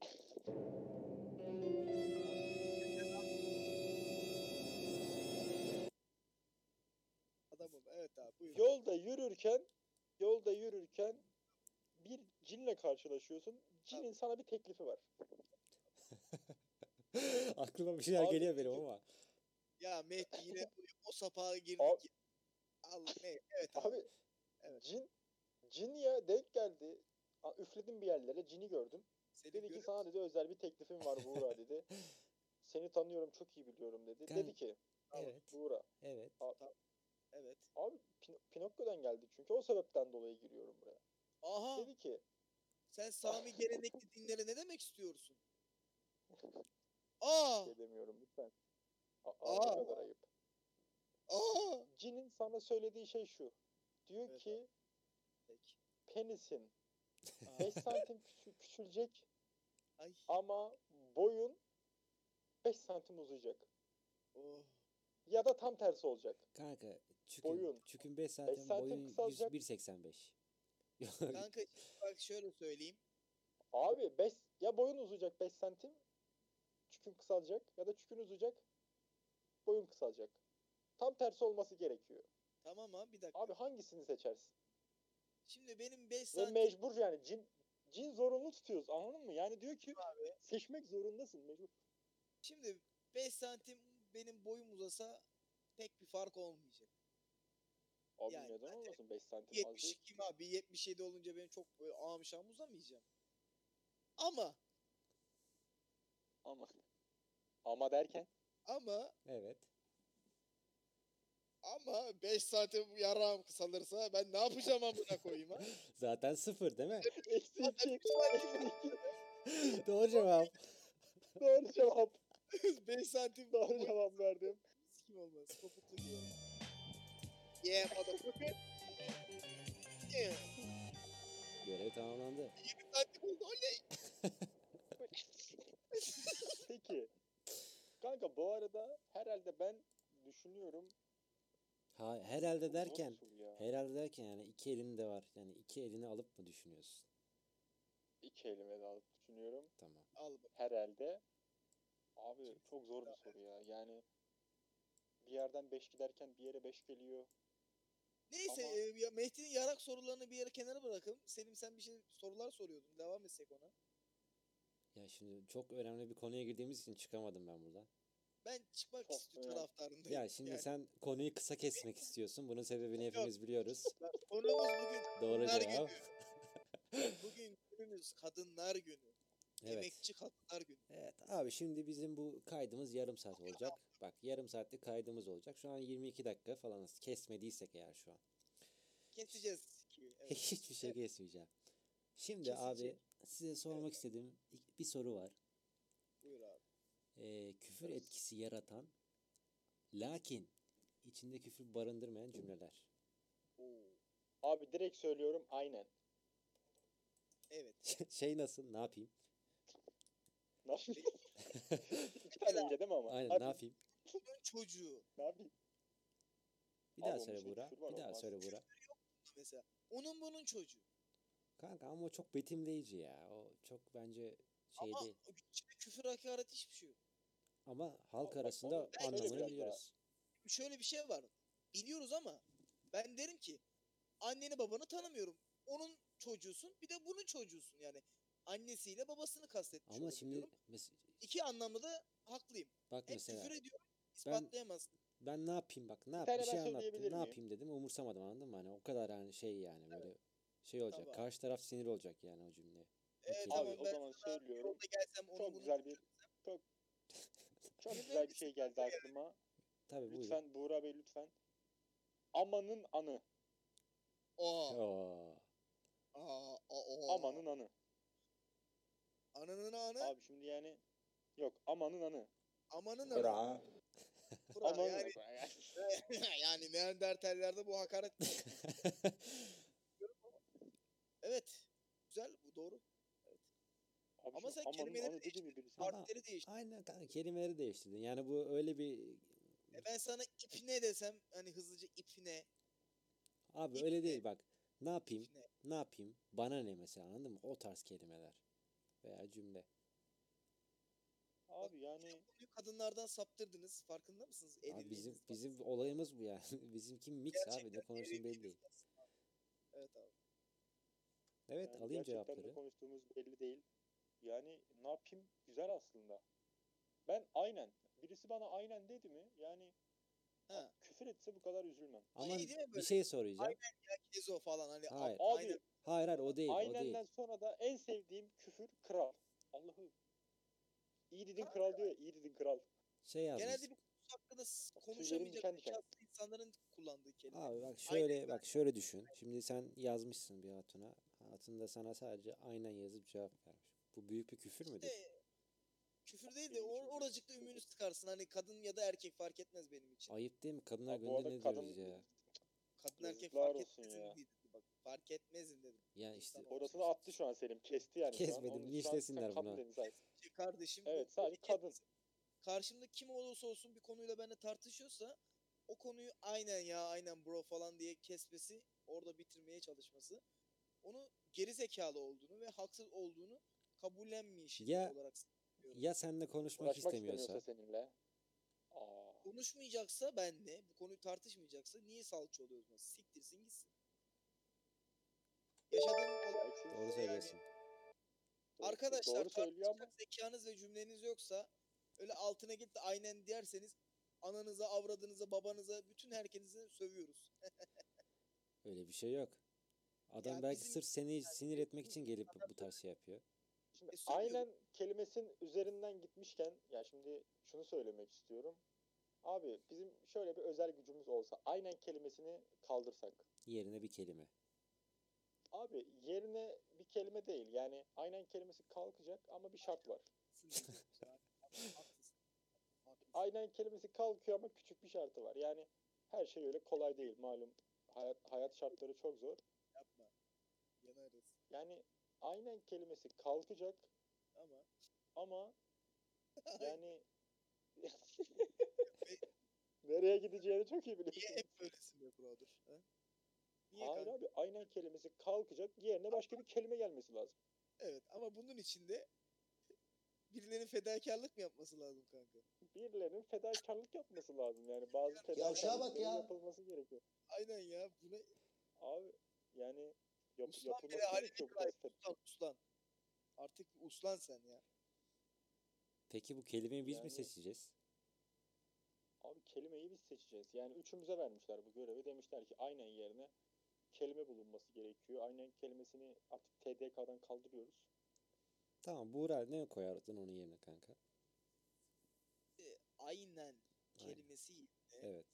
Speaker 3: Adamım evet abi buyur.
Speaker 2: yolda yürürken yolda yürürken bir cinle karşılaşıyorsun. Cinin sana bir teklifi var.
Speaker 1: Aklıma bir şeyler
Speaker 2: Abi,
Speaker 1: geliyor benim ama.
Speaker 3: Ya Mehdi yine o- o sapağa girdik.
Speaker 2: Abi-
Speaker 3: ya. Allah ne? Evet abi.
Speaker 2: Abi
Speaker 3: Evet.
Speaker 2: cin cin ya denk geldi. A- Üfledim bir yerlere cini gördüm.
Speaker 3: Selim
Speaker 2: Dedi ki
Speaker 3: görüyor
Speaker 2: sana dedi özel bir teklifim var Buğra dedi. Seni tanıyorum çok iyi biliyorum dedi.
Speaker 1: Kan-
Speaker 2: Dedi ki
Speaker 1: Evet.
Speaker 2: Buğra
Speaker 1: Evet.
Speaker 3: Evet.
Speaker 2: Abi Pin- Pinokyo'dan geldik çünkü o sebepten dolayı giriyorum buraya.
Speaker 3: Aha
Speaker 2: Dedi ki
Speaker 3: sen Sami gelenekli dinlere ne demek istiyorsun? Aa
Speaker 2: şey demiyorum lütfen. A- Aa, ne
Speaker 3: Aa.
Speaker 2: kadar ayıp.
Speaker 3: Aa!
Speaker 2: Cin'in sana söylediği şey şu. Diyor
Speaker 3: Evet
Speaker 2: ki
Speaker 3: Peki.
Speaker 2: penisin
Speaker 3: Aa,
Speaker 2: 5 santim küçü- küçülecek
Speaker 3: Ay.
Speaker 2: ama boyun 5 santim uzayacak.
Speaker 3: Oh.
Speaker 2: Ya da tam tersi olacak.
Speaker 1: Kanka çükün,
Speaker 2: Boyun.
Speaker 1: çükün 5 zaten
Speaker 2: santim
Speaker 1: boyun
Speaker 2: kısalacak.
Speaker 1: 185.
Speaker 3: Kanka bak şöyle söyleyeyim.
Speaker 2: Abi 5 ya boyun uzayacak 5 santim çükün kısalacak ya da çükün uzayacak boyun kısalacak. Tam tersi olması gerekiyor.
Speaker 3: Tamam abi bir dakika.
Speaker 2: Abi hangisini seçersin?
Speaker 3: Şimdi benim 5
Speaker 2: Ve
Speaker 3: santim
Speaker 2: mecbur yani cin cin zorunlu tutuyoruz anladın mı? Yani diyor ki seçmek zorundasın mecbur.
Speaker 3: Şimdi 5 santim benim boyum uzasa pek bir fark olmayacak.
Speaker 2: Abi
Speaker 3: Yani
Speaker 2: neden
Speaker 3: bence
Speaker 2: olmasın 5 santim az değil.
Speaker 3: 72 mi abi? 77 olunca benim çok böyle ağam şahım uzamayacağım. Ama
Speaker 2: Ama ama derken
Speaker 3: ama
Speaker 1: Evet.
Speaker 3: ama 5 santim yarağım kısalırsa ben ne yapacağım amına koyayım ha?
Speaker 1: Zaten sıfır değil mi?
Speaker 2: eksi iki eksi iki.
Speaker 1: Doğru cevap.
Speaker 2: doğru cevap
Speaker 3: 5 santim daha
Speaker 2: doğru cevap verdim.
Speaker 3: kim olmaz. Topuklu giyerim. Yeah motherfucker. Yeah.
Speaker 1: Görev tamamlandı.
Speaker 3: Santim oldu. Oley.
Speaker 2: Peki. Kanka bu arada herhalde ben düşünüyorum.
Speaker 1: Ha, herhalde
Speaker 2: Bu
Speaker 1: derken,
Speaker 2: nasıl ya?
Speaker 1: herhalde derken yani iki elin de var. Yani iki elini alıp mı düşünüyorsun?
Speaker 2: İki elime de alıp düşünüyorum.
Speaker 1: Tamam.
Speaker 3: Al bak.
Speaker 2: Herhalde. Abi çok zor bir soru ya. Yani bir yerden 5 giderken bir yere 5 geliyor.
Speaker 3: Neyse
Speaker 2: Ama-
Speaker 3: e, ya Mehdi'nin yarak sorularını bir yere kenara bırakın. Selim sen bir şey sorular soruyordun. Devam etsek ona.
Speaker 1: Ya şimdi çok önemli bir konuya girdiğimiz için çıkamadım ben buradan.
Speaker 3: Ben çıkmak
Speaker 2: Çok
Speaker 3: istiyorum
Speaker 2: önemli.
Speaker 3: taraftarındayım.
Speaker 1: Ya şimdi
Speaker 3: Yani
Speaker 1: sen konuyu kısa kesmek istiyorsun. Bunun sebebini hepimiz biliyoruz.
Speaker 3: Konumuz bugün
Speaker 1: Doğru
Speaker 3: Her
Speaker 1: cevap.
Speaker 3: Bugün günümüz kadınlar günü.
Speaker 1: Evet.
Speaker 3: Emekçi kadınlar günü.
Speaker 1: Evet abi şimdi bizim bu kaydımız yarım saat olacak. Bak yarım saatlik kaydımız olacak. Şu an 22 dakika falanız kesmediysek eğer şu an.
Speaker 3: Keseceğiz ki. Evet.
Speaker 1: Hiçbir şey kesmeyeceğim. Şimdi abi
Speaker 3: Kesecek.
Speaker 1: size sormak istediğim ilk bir soru var.
Speaker 3: Buyur abi.
Speaker 1: Ee, küfür etkisi yaratan lakin içinde küfür barındırmayan cümleler.
Speaker 3: Oo.
Speaker 2: Abi direkt söylüyorum aynen.
Speaker 3: Evet.
Speaker 1: Şey nasıl? Ne yapayım?
Speaker 2: Nasıl? İki tane önce değil mi ama?
Speaker 1: Aynen ne
Speaker 2: Abi,
Speaker 1: yapayım?
Speaker 3: Bunun çocuğu
Speaker 2: Ne yapayım?
Speaker 1: Bir daha
Speaker 2: Abi onun
Speaker 1: söyle
Speaker 2: içinde
Speaker 1: Buğra.
Speaker 2: küfür var,
Speaker 1: Bir daha
Speaker 2: olmaz.
Speaker 1: söyle Buğra.
Speaker 3: mesela. Onun bunun çocuğu.
Speaker 1: Kanka ama o çok betimleyici ya. O çok bence şey
Speaker 3: Ama
Speaker 1: değil.
Speaker 3: içinde küfür hakaret hiçbir şey yok.
Speaker 1: Ama halk
Speaker 2: Ama- ama
Speaker 1: arasında
Speaker 2: ben şöyle
Speaker 1: anlamını
Speaker 2: biraz daha-
Speaker 1: biliyoruz.
Speaker 3: Şöyle bir şey var. Biliyoruz ama ben derim ki anneni babanı tanımıyorum. Onun çocuğusun bir de bunun çocuğusun yani. Annesiyle babasını kastetmiş
Speaker 1: Ama
Speaker 3: olurum
Speaker 1: şimdi
Speaker 3: diyorum.
Speaker 1: mes-
Speaker 3: iki anlamda da haklıyım.
Speaker 1: bak
Speaker 3: Hem
Speaker 1: mesela
Speaker 3: küfür ediyorum ispatlayamazsın.
Speaker 1: ben ne yapayım bak ne yap
Speaker 2: tane
Speaker 1: bir
Speaker 2: ben
Speaker 1: şey anlattın
Speaker 2: söyleyebilir
Speaker 1: ne
Speaker 2: miyim?
Speaker 1: yapayım dedim umursamadım anladın mı? Hani o kadar hani şey yani böyle şey olacak.
Speaker 3: Tamam.
Speaker 1: Karşı taraf sinir olacak yani o cümleye.
Speaker 3: Evet,
Speaker 1: Okey.
Speaker 2: Abi
Speaker 3: tamam
Speaker 2: o
Speaker 3: ben
Speaker 2: zaman söylüyorum.
Speaker 3: yolda gelsem onun
Speaker 2: Çok
Speaker 3: bunun
Speaker 2: güzel bir çok çok güzel bir şey geldi aklıma.
Speaker 1: Tabii buyur.
Speaker 2: Lütfen Buğra Bey lütfen. Amanın anı.
Speaker 3: Aa.
Speaker 1: Oo.
Speaker 3: Aa, aa,
Speaker 2: şey Amanın anı.
Speaker 3: Ananın anı,
Speaker 2: Abi şimdi yani yok amanın anı.
Speaker 3: amanın anı.
Speaker 4: Bra.
Speaker 3: Bra,
Speaker 2: Amanın
Speaker 3: Yani,
Speaker 2: anı.
Speaker 3: yani Neandertallerde bu hakaret. evet. Güzel bu doğru.
Speaker 2: Abi
Speaker 3: Ama
Speaker 2: şimdi
Speaker 3: sen
Speaker 2: amanın
Speaker 3: kelimeleri
Speaker 2: anı dedi mi birisi?
Speaker 1: Ama-
Speaker 3: Harfleri değişti.
Speaker 1: Aynen kanka kelimeleri değiştirdin. Yani bu öyle bir
Speaker 3: E ben sana ipine desem hani hızlıca ipine.
Speaker 1: abi
Speaker 3: İp
Speaker 1: öyle
Speaker 3: ne?
Speaker 1: değil bak. Ne yapayım?
Speaker 3: ipine.
Speaker 1: Ne yapayım? Bana ne mesela anladın mı? O tarz kelimeler veya cümle.
Speaker 2: Abi yani
Speaker 3: Konuyu kadınlardan saptırdınız. Farkında mısınız?
Speaker 1: Abi
Speaker 3: Edindiğiniz
Speaker 1: bizim
Speaker 3: bak-
Speaker 1: bizim olayımız bu yani. Bizimki mix abi ne
Speaker 3: Gerçekten
Speaker 1: konuştuğum belli değil.
Speaker 3: edindiğiniz bak- Evet abi.
Speaker 1: Evet
Speaker 2: yani
Speaker 1: alayım
Speaker 2: gerçekten
Speaker 1: cevapları.
Speaker 2: ne konuştuğumuz belli değil. Yani ne yapayım güzel aslında. Ben aynen. Birisi bana aynen dedi mi? Yani
Speaker 3: Ha.
Speaker 2: küfür etse bu kadar üzülmem.
Speaker 1: Ama
Speaker 3: değil mi
Speaker 1: bir
Speaker 3: böyle?
Speaker 1: şey soracağım.
Speaker 3: Kezo falan hani.
Speaker 1: Hayır.
Speaker 3: a-
Speaker 2: Abi
Speaker 3: aynen.
Speaker 1: Hayır hayır o değil o değil.
Speaker 2: aynenden sonra da en sevdiğim küfür kral. Allah'ım. İyi dedin kral diyor ya. iyi dedin kral.
Speaker 1: Şey yazmış.
Speaker 3: Genelde bir konu hakkında s-
Speaker 2: diken
Speaker 3: konuşamayacak
Speaker 2: diken.
Speaker 3: şanslı insanların kullandığı kelime.
Speaker 1: Abi bak şöyle bak şöyle düşün. Şimdi sen yazmışsın bir hatuna. Hatun da sana sadece aynen yazıp cevap vermiş. Bu büyük bir küfür müdür?
Speaker 3: İşte küfür değil de
Speaker 2: Benim için
Speaker 3: or-
Speaker 2: de
Speaker 3: oracıkta
Speaker 2: küfür.
Speaker 3: ümünü sıkarsın. Hani kadın ya da erkek fark etmez benim için.
Speaker 1: Ayıp değil mi? Kadınlar
Speaker 2: Abi bu
Speaker 1: gününde
Speaker 2: arada
Speaker 1: ne
Speaker 2: kadın-
Speaker 1: diyoruz ya?
Speaker 3: Kadın erkek
Speaker 2: Yazıklar
Speaker 3: fark
Speaker 2: olsun
Speaker 3: etmezim
Speaker 2: ya.
Speaker 3: dedi. Bak fark etmezim dedim.
Speaker 1: Yani işte
Speaker 2: Orasını attı şu an Selim. Kesti yani. şu an.
Speaker 1: Kesmedim,
Speaker 2: Onun- şu an
Speaker 1: linçlesinler
Speaker 2: sen kadın
Speaker 1: bunu.
Speaker 2: dedin zaten.
Speaker 3: Şey kardeşim.
Speaker 2: Evet,
Speaker 3: bu
Speaker 2: sadece
Speaker 3: fark
Speaker 2: kadın.
Speaker 3: etmez. Karşımda kim olursa olsun bir konuyla benimle tartışıyorsa o konuyu aynen ya aynen bro falan diye kesmesi, orada bitirmeye çalışması onu geri zekalı olduğunu ve haksız olduğunu kabullenmiş
Speaker 1: Ya-
Speaker 3: olarak
Speaker 1: ya seninle konuşmak
Speaker 2: Uğraşmak
Speaker 1: istemiyorsa
Speaker 2: istemiyorsa seninle. Aa.
Speaker 3: konuşmayacaksa benle bu konuyu tartışmayacaksa niye salça oluyoruz? buna? Siktirsin gitsin. Yaşadığım olay-
Speaker 2: Eksiz.
Speaker 1: doğru söylüyorsun.
Speaker 2: Doğru-
Speaker 3: Arkadaşlar
Speaker 2: Doğru söylüyor ama
Speaker 3: tartışacak zekanız ve cümleniz yoksa öyle altına git de aynen derseniz ananıza, avradınıza, babanıza bütün herkese sövüyoruz.
Speaker 1: Öyle bir şey yok. Adam
Speaker 3: Ya
Speaker 1: belki
Speaker 3: bizim-
Speaker 1: sırf seni sinir etmek için gelip bu tarz şey yapıyor.
Speaker 2: Şimdi
Speaker 3: E, söylüyorum.
Speaker 2: aynen kelimesin üzerinden gitmişken ya şimdi şunu söylemek istiyorum. Abi bizim şöyle bir özel gücümüz olsa aynen kelimesini kaldırsak.
Speaker 1: Yerine bir kelime.
Speaker 2: Abi yerine bir kelime değil. Yani aynen kelimesi kalkacak ama bir şart var. Aynen kelimesi kalkıyor ama küçük bir şartı var. Yani her şey öyle kolay değil malum. Hayat, hayat şartları çok zor.
Speaker 3: Yapma. Yanarız.
Speaker 2: Yani aynen kelimesi kalkacak
Speaker 3: Ama
Speaker 2: ama yani nereye gideceğini çok iyi
Speaker 3: niye
Speaker 2: biliyorsun.
Speaker 3: hep böylesin be brother? ha? Niye
Speaker 2: Hayır
Speaker 3: kanka?
Speaker 2: abi aynen kelimesi kalkacak yerine başka bir kelime gelmesi lazım.
Speaker 3: Evet ama bunun içinde birilerinin fedakarlık mı yapması lazım kanka?
Speaker 2: Birilerinin fedakarlık yapması lazım yani bazı
Speaker 4: Ya şuna bak
Speaker 2: fedakarlıkların
Speaker 4: ya.
Speaker 2: yapılması gerekiyor.
Speaker 3: Aynen ya. Bu ne?
Speaker 2: Abi yani yap,
Speaker 3: Uslan bile
Speaker 2: yapılması
Speaker 3: Ali
Speaker 2: gerekiyor bu
Speaker 3: Bekray.
Speaker 2: tarz fe-
Speaker 3: Uslan, uslan. Artık uslan sen ya.
Speaker 1: Peki bu kelimeyi biz
Speaker 2: Yani-
Speaker 1: mi seçeceğiz?
Speaker 2: Abi kelimeyi biz seçeceğiz. Yani üçümüze vermişler bu görevi. Demişler ki aynen yerine kelime bulunması gerekiyor. Aynen kelimesini artık TDK'dan kaldırıyoruz.
Speaker 1: Tamam Buğra ne koyardın onun yerine kanka?
Speaker 3: E, Aynen
Speaker 1: Aynen.
Speaker 3: kelimesi
Speaker 1: Evet.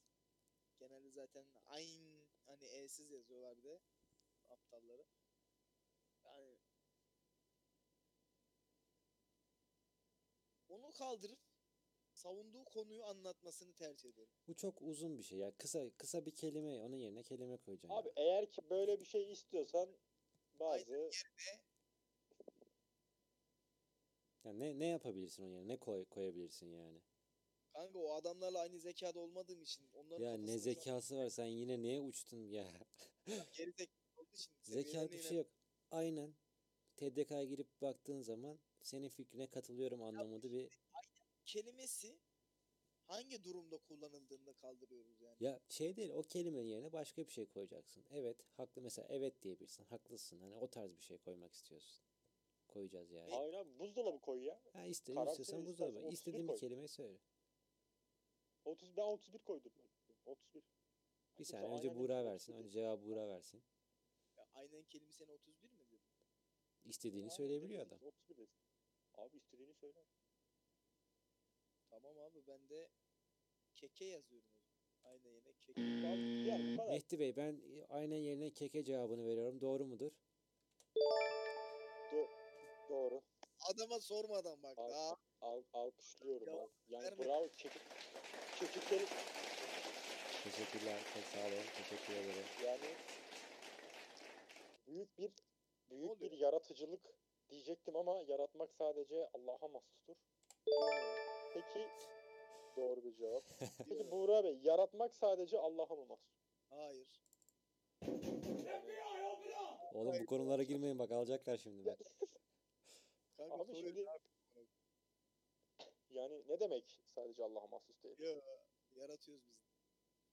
Speaker 3: Genelde zaten ayn hani e'siz yazıyorlar bir de aptalları. Yani onu kaldırıp savunduğu konuyu anlatmasını tercih ederim.
Speaker 1: Bu çok uzun bir şey ya. Kısa kısa bir kelime onun yerine kelime koyacaksın.
Speaker 2: Abi eğer ki böyle bir şey istiyorsan bazı
Speaker 1: Şey- Ya ne ne yapabilirsin onun yerine? Ne koy, koyabilirsin yani?
Speaker 3: Kanka o adamlarla aynı zekada olmadığım için onların
Speaker 1: Ya ne
Speaker 3: kafasında şu an
Speaker 1: zekası var sen yine neye uçtun ya?
Speaker 3: geri zekalı olduğu için
Speaker 1: Zekalı bir şey yok. Aynen. TDK'ya girip baktığın zaman senin fikrine katılıyorum anlamında bir
Speaker 3: kelimesi hangi durumda kullanıldığında kaldırıyoruz yani.
Speaker 1: Ya şey değil o kelimenin yerine başka bir şey koyacaksın. Evet haklı mesela evet diyebilirsin haklısın. Hani o tarz bir şey koymak istiyorsun. Koyacağız yani.
Speaker 2: Hayır abi buzdolabı koy ya.
Speaker 1: Ha iste,
Speaker 2: karantina
Speaker 1: istiyorsan
Speaker 2: istersen
Speaker 1: buzdolabı.
Speaker 2: 31
Speaker 1: İstediğin bir
Speaker 2: koy.
Speaker 1: kelimeyi söyle.
Speaker 2: 30 ben 31 koydum. 31.
Speaker 1: Bir
Speaker 2: Yoksa
Speaker 1: saniye önce
Speaker 2: aynen
Speaker 1: Buğra
Speaker 2: hepsi
Speaker 1: versin.
Speaker 2: 31.
Speaker 1: Önce cevabı Buğra versin.
Speaker 3: Ya aynen kelimesi hani 31 mi dedi?
Speaker 1: İstediğini
Speaker 2: Aynen
Speaker 1: söyleyebiliyor
Speaker 2: dedim,
Speaker 1: adam.
Speaker 2: 31 dedim. Abi istediğini söyle.
Speaker 3: Tamam abi ben de keke yazıyorum. o zaman. Aynen yine keke.
Speaker 2: Abi, yani bu kadar.
Speaker 1: Mehdi Bey ben aynen yerine keke cevabını veriyorum. Doğru mudur?
Speaker 2: Doğru.
Speaker 3: Adama sormadan bak.
Speaker 2: Abi.
Speaker 3: Aa,
Speaker 2: Al, alkışlıyorum
Speaker 3: Cevap
Speaker 2: abi. Yani
Speaker 3: verme.
Speaker 2: bravo çekik. Çekikleri
Speaker 1: Teşekkürler. Çok sağ olun. Teşekkür ederim.
Speaker 2: yani büyük bir büyük
Speaker 3: oluyor?
Speaker 2: bir yaratıcılık diyecektim ama yaratmak sadece Allah'a mahsustur. Peki doğru bir cevap. Peki Buğra Bey yaratmak sadece Allah'a mı mahsus?
Speaker 3: hayır.
Speaker 1: Oğlum bu konulara girmeyin bak alacaklar şimdi beni.
Speaker 3: Kanka
Speaker 2: Abi
Speaker 3: soruyor,
Speaker 2: şimdi- Yani ne demek sadece Allah'a mahsus değil?
Speaker 3: yaratıyoruz biz.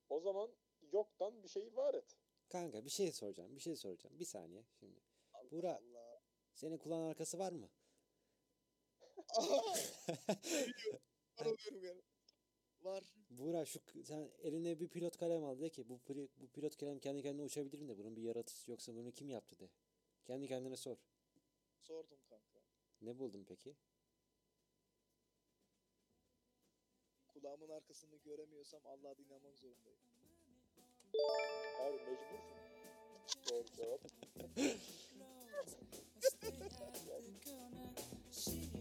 Speaker 2: O zaman yoktan bir şey var et.
Speaker 1: Kanka bir şey soracağım. Bir şey soracağım. Bir saniye şimdi.
Speaker 3: Allah
Speaker 1: Burak.
Speaker 3: Allah.
Speaker 1: Senin kulağın arkası var mı?
Speaker 3: Aha! Ben oluyorum yani. Var.
Speaker 1: Buğra şu k- sen eline bir pilot kalem al de ki bu, pri- bu pilot kalem kendi kendine uçabilir mi de bunun bir yaratıcısı yoksa bunu kim yaptı de. Kendi kendine sor.
Speaker 3: Sordum kanka.
Speaker 1: Ne buldun peki?
Speaker 3: Kulağımın arkasını göremiyorsam Allah'a da inanmak zorundayım.
Speaker 2: Abi mecbursun. Doğru cevap.
Speaker 5: gonna see